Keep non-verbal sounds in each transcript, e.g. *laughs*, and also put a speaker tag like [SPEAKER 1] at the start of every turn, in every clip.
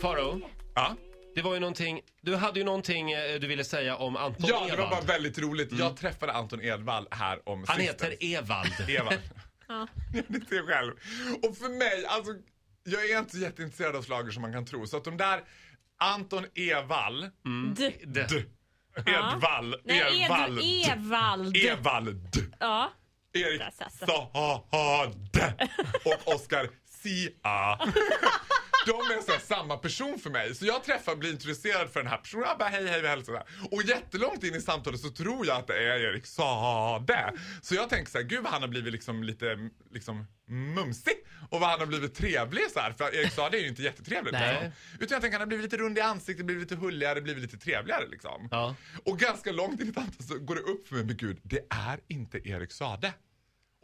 [SPEAKER 1] Faro,
[SPEAKER 2] Ja.
[SPEAKER 1] det var ju någonting, du hade ju någonting eh, du ville säga om Anton
[SPEAKER 2] ja, det var
[SPEAKER 1] Ewald.
[SPEAKER 2] bara väldigt roligt. Jag träffade Anton Edvall här om
[SPEAKER 1] Han
[SPEAKER 2] sistens.
[SPEAKER 1] heter Evald.
[SPEAKER 2] *laughs* Edvall. *laughs* Jag vet inte själv. Och för mig, alltså, jag är inte så jätteintresserad av slager som man kan tro. Så att de där Anton Evall,
[SPEAKER 1] Mm.
[SPEAKER 3] D-
[SPEAKER 2] d, Edvall,
[SPEAKER 3] Nej,
[SPEAKER 2] E- Evald,
[SPEAKER 3] Evald. Evald.
[SPEAKER 2] Evald,
[SPEAKER 3] ja.
[SPEAKER 2] Erik
[SPEAKER 3] Där satt den.
[SPEAKER 2] Saade och Oscar Sia. De är så här samma person för mig. Så jag träffar blir introducerad för den här personen. Jag bara hej, hej, vi hälsar. så här. Och jättelångt in i samtalet så tror jag att det är Erik Saade. Så jag tänker så här, gud vad han har blivit liksom lite liksom mumsig. Och vad han har blivit trevlig så här. För Erik Saade är ju inte jättetrevlig.
[SPEAKER 1] Nej.
[SPEAKER 2] Liksom. Utan jag tänker han har blivit lite rund i ansiktet, blivit lite hulligare, blivit lite trevligare liksom.
[SPEAKER 1] Ja.
[SPEAKER 2] Och ganska långt in i samtalet så går det upp för mig, men gud, det är inte Erik Saade.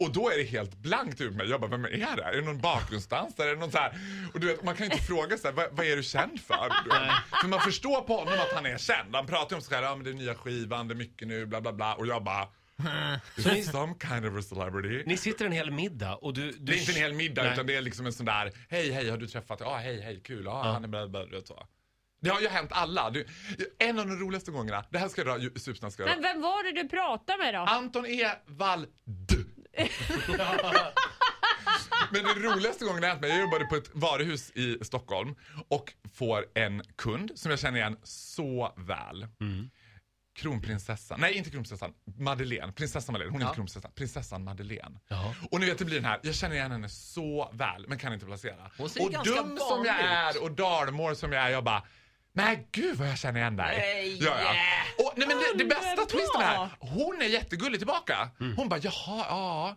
[SPEAKER 2] Och då är det helt blankt ur mig. Jag bara, vem är det? Är det någon bakgrundsdansare? Är det någon så här? Och du vet, man kan ju inte fråga så här, vad, vad är du känd för? Du vet. För man förstår på honom att han är känd. Han pratar ju om så här, ja men det är nya skivan, det är mycket nu, bla bla bla. Och jag bara, is he some kind of a celebrity?
[SPEAKER 1] Ni sitter en hel middag och du... du
[SPEAKER 2] Det är inte en hel middag
[SPEAKER 1] Nej.
[SPEAKER 2] utan det är liksom en sån där Hej hej har du träffat, ja hej hej kul, ja han är bad, bad, och så. Det har ju hänt alla. Du, en av de roligaste gångerna, det här ska jag dra, Susan ska jag dra.
[SPEAKER 3] Men vem var det du pratade med då?
[SPEAKER 2] Anton E. Wald. *laughs* Men den roligaste gången det har hänt mig, jag jobbade på ett varuhus i Stockholm och får en kund som jag känner igen så väl. Kronprinsessan, nej inte kronprinsessan, Madeleine. Prinsessan Madeleine, hon är inte kronprinsessan. Prinsessan Madeleine.
[SPEAKER 1] Ja.
[SPEAKER 2] Och ni vet det blir den här, jag känner igen henne så väl men kan inte placera.
[SPEAKER 4] Hon ser ju
[SPEAKER 2] och
[SPEAKER 4] ganska
[SPEAKER 2] dum som
[SPEAKER 4] vanlig
[SPEAKER 2] jag
[SPEAKER 4] ut.
[SPEAKER 2] är och dalmål som jag är, jag bara Nej gud vad jag känner igen dig.
[SPEAKER 4] Nej.
[SPEAKER 2] Ja, ja. Och, nej men det, det
[SPEAKER 3] Ja, men
[SPEAKER 2] bästa
[SPEAKER 3] bra.
[SPEAKER 2] twisten här, hon är jättegullig tillbaka.
[SPEAKER 4] Mm.
[SPEAKER 2] Hon bara jaha, ja.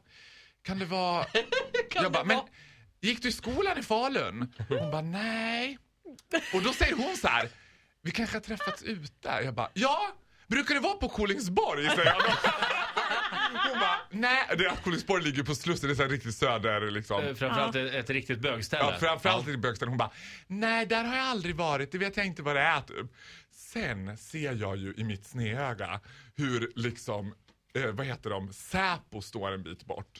[SPEAKER 2] Kan
[SPEAKER 4] *laughs*
[SPEAKER 2] det vara... jag bara, men gick du i skolan i Falun? Hon bara, nej. Och då säger hon så här, vi kanske har träffats ute? Jag bara, ja. Brukar det vara på Kolingsborg? säger jag. Hon bara, nej. Det är att Kolingsborg ligger på Slussen, det är så här riktigt söder liksom.
[SPEAKER 1] Eh, Framförallt ett, ett riktigt bögställe.
[SPEAKER 2] Ja, framförallt i Bökstad. Hon bara, nej där har jag aldrig varit, det vet jag inte vad det är typ. Sen ser jag ju i mitt snedöga hur liksom, eh, vad heter de, Säpo står en bit bort.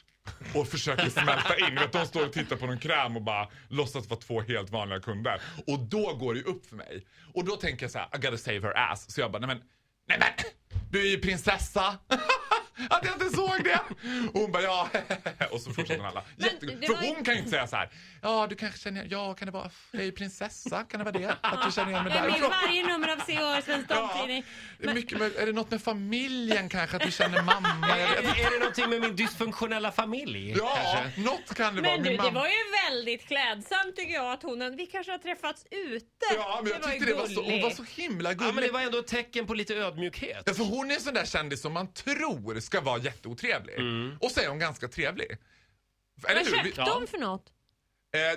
[SPEAKER 2] Och försöker smälta in. Vet, de står och tittar på någon kräm och bara låtsas vara två helt vanliga kunder. Och då går det ju upp för mig. Och då tänker jag så här, I gotta save her ass. Så jag bara, nej men, nej men, du är ju prinsessa. *laughs* Att jag inte såg det! Och hon bara ja, *laughs* och så fortsätter alla. Jättegod.
[SPEAKER 3] det
[SPEAKER 2] För
[SPEAKER 3] var ju-
[SPEAKER 2] hon kan ju inte säga så här. Ja, du kanske känner, ja kan det vara, jag är ju prinsessa, kan det vara det? Att du känner igen mig
[SPEAKER 3] Jag är med i
[SPEAKER 2] därifrån?
[SPEAKER 3] varje nummer av Se och Hör Svensk
[SPEAKER 2] *laughs* Ja,
[SPEAKER 3] Damtidning.
[SPEAKER 2] är, mycket, med- är det något med familjen kanske, att du känner mamma? Jag
[SPEAKER 1] Är,
[SPEAKER 2] vet.
[SPEAKER 1] är det någonting med min dysfunktionella familj?
[SPEAKER 2] Ja,
[SPEAKER 1] kanske?
[SPEAKER 2] något kan det vara.
[SPEAKER 3] Men du,
[SPEAKER 2] Min
[SPEAKER 3] det
[SPEAKER 2] mamma.
[SPEAKER 3] var ju väldigt klädsamt tycker jag att hon... Vi kanske har träffats ute.
[SPEAKER 2] Ja, men jag
[SPEAKER 3] var ju
[SPEAKER 2] tyckte det var så, hon
[SPEAKER 3] gulligt.
[SPEAKER 2] var så himla
[SPEAKER 1] Ja, men det
[SPEAKER 2] gullig.
[SPEAKER 1] var ändå ett tecken på lite ödmjukhet.
[SPEAKER 2] Ja, för hon är en sån där kändis som man tror ska vara jätteotrevlig. Och så är hon ganska trevlig. Eller
[SPEAKER 3] Vad
[SPEAKER 2] hur? Vi,
[SPEAKER 3] köpte
[SPEAKER 2] eh,
[SPEAKER 3] hon för något?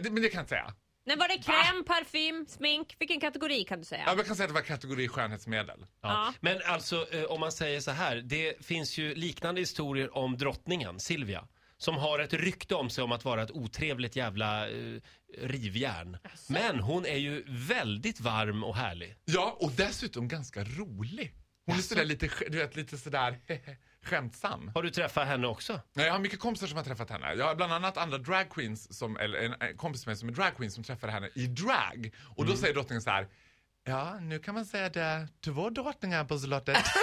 [SPEAKER 2] det, men det kan jag inte säga.
[SPEAKER 3] Nej, var det kräm, parfym, smink? Vilken kategori kan du säga?
[SPEAKER 2] Ja, men Jag kan säga att det var kategori skönhetsmedel.
[SPEAKER 1] Ja. Men alltså, eh, om man säger så här. Det finns ju liknande historier om drottningen, Silvia. Som har ett rykte om sig om att vara ett otrevligt jävla eh, rivjärn. Men hon är ju väldigt varm och härlig.
[SPEAKER 2] Ja, och dessutom ganska rolig. Hon är sådär lite, sk- du vet, lite sådär skämtsam.
[SPEAKER 1] Har du träffat henne också?
[SPEAKER 2] Nej, Jag har mycket kompisar som har träffat henne. Jag har bland annat andra drag queens som, eller en en kompis med mig som är drag queen som träffade henne i drag. Och
[SPEAKER 4] Mm.
[SPEAKER 2] då säger drottningen så här. Ja, nu kan man säga det. Två drottningar på slottet.
[SPEAKER 4] *laughs*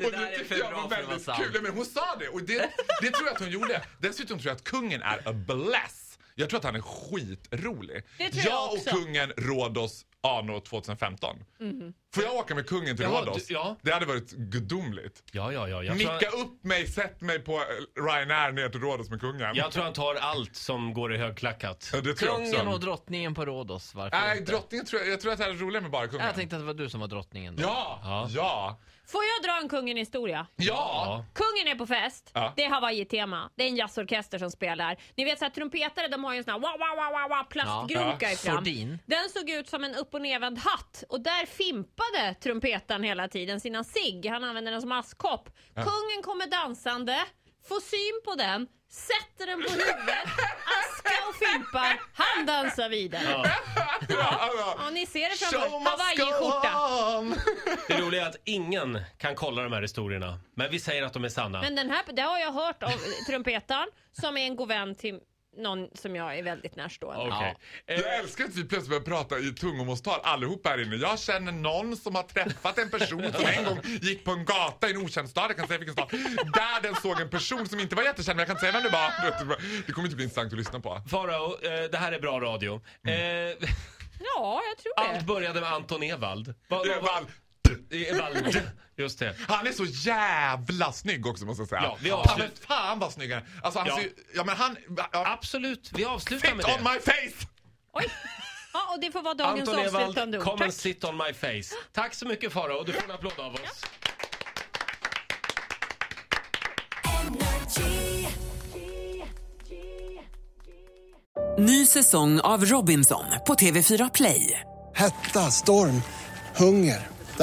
[SPEAKER 4] Det där är för bra för att vara sant.
[SPEAKER 2] kul. Nej, Men hon sa det och det, det tror jag att hon gjorde. Dessutom tror jag att kungen är a bless. Jag tror att han är skitrolig.
[SPEAKER 3] Det tror jag
[SPEAKER 2] och
[SPEAKER 3] också.
[SPEAKER 2] kungen Rhodos anno 2015.
[SPEAKER 3] Mhm.
[SPEAKER 2] Får jag åka med kungen till
[SPEAKER 1] Jaha,
[SPEAKER 2] Rhodos?
[SPEAKER 1] du- ja.
[SPEAKER 2] Det hade varit gudomligt.
[SPEAKER 1] Ja, ja, ja. Jag tror,
[SPEAKER 2] Micka upp mig, sätt mig på eh, Ryanair ner till Rhodos med kungen.
[SPEAKER 1] jag tror han tar allt som går i högklackat.
[SPEAKER 2] Ja, det tror jag
[SPEAKER 4] Kungen
[SPEAKER 2] också.
[SPEAKER 4] och drottningen på Rhodos, varför
[SPEAKER 2] Nej,
[SPEAKER 4] inte?
[SPEAKER 2] drottningen tror jag, jag tror att det här är roligare med bara kungen.
[SPEAKER 4] Jag tänkte att det var du som var drottningen. Då.
[SPEAKER 2] Ja,
[SPEAKER 1] Ja.
[SPEAKER 2] ja, ja,
[SPEAKER 3] Får jag dra en kungen-historia?
[SPEAKER 2] ja.
[SPEAKER 3] Kungen är på fest.
[SPEAKER 2] Ja.
[SPEAKER 3] Det är Hawaii-tema. Det är en jazzorkester som spelar. Ni vet så här, trumpetare de har ju en sån här wow, wow, wow, wow, wow, plastgrunka
[SPEAKER 2] Ja.
[SPEAKER 3] i fram.
[SPEAKER 4] Sordin.
[SPEAKER 3] Den såg ut som en upp och nedvänd hatt och där fimpade tappade trumpetaren hela tiden sina cigg. Han använde den som askkopp. Kungen kommer dansande, får syn på den, sätter den på huvudet, aska och fimpar. Han dansar vidare. Ja.
[SPEAKER 2] alltså,
[SPEAKER 3] och ni ser det framför er. Hawaiiskjorta.
[SPEAKER 1] home! Det roliga är att ingen kan kolla de här historierna. Men vi säger att de är sanna.
[SPEAKER 3] Men den här, det har jag hört av trumpetaren som är en god vän till någon som jag är väldigt närstående.
[SPEAKER 1] Okej. Eh.
[SPEAKER 2] Jag älskar att vi plötsligt börjar prata i tungomålstal allihopa här inne. Jag känner någon som har träffat en person som en gång gick på en gata i en okänd stad, jag kan säga vilken stad, där den såg en person som inte var jättekänd men jag kan inte säga vem det var. Det kommer inte bli intressant att lyssna på.
[SPEAKER 1] Farao, eh, det här är bra radio. Eh,
[SPEAKER 3] Ja, jag tror det.
[SPEAKER 1] allt började med Anton Ewald. Va- va- va-
[SPEAKER 2] Evald.
[SPEAKER 1] Ewald. Just det.
[SPEAKER 2] Han är så jävla snygg också måste jag säga.
[SPEAKER 1] Ja, vi
[SPEAKER 2] ja,
[SPEAKER 1] avslut-
[SPEAKER 2] men fan vad snygg han är. Alltså han
[SPEAKER 1] Ja.
[SPEAKER 2] ser ju, ja men han, ja,
[SPEAKER 1] Absolut, vi avslutar med
[SPEAKER 2] fit on
[SPEAKER 1] det.
[SPEAKER 2] my face!
[SPEAKER 3] Oj. Ja, och det får vara dagens
[SPEAKER 1] Anton
[SPEAKER 3] avslutande
[SPEAKER 1] Ewald,
[SPEAKER 3] ord.
[SPEAKER 1] come and
[SPEAKER 3] Tack.
[SPEAKER 1] sit on my face. Tack så mycket Farao, du får en applåd av oss.
[SPEAKER 5] Ny säsong av Robinson på TV4 Play.
[SPEAKER 6] Hetta, storm, hunger. Det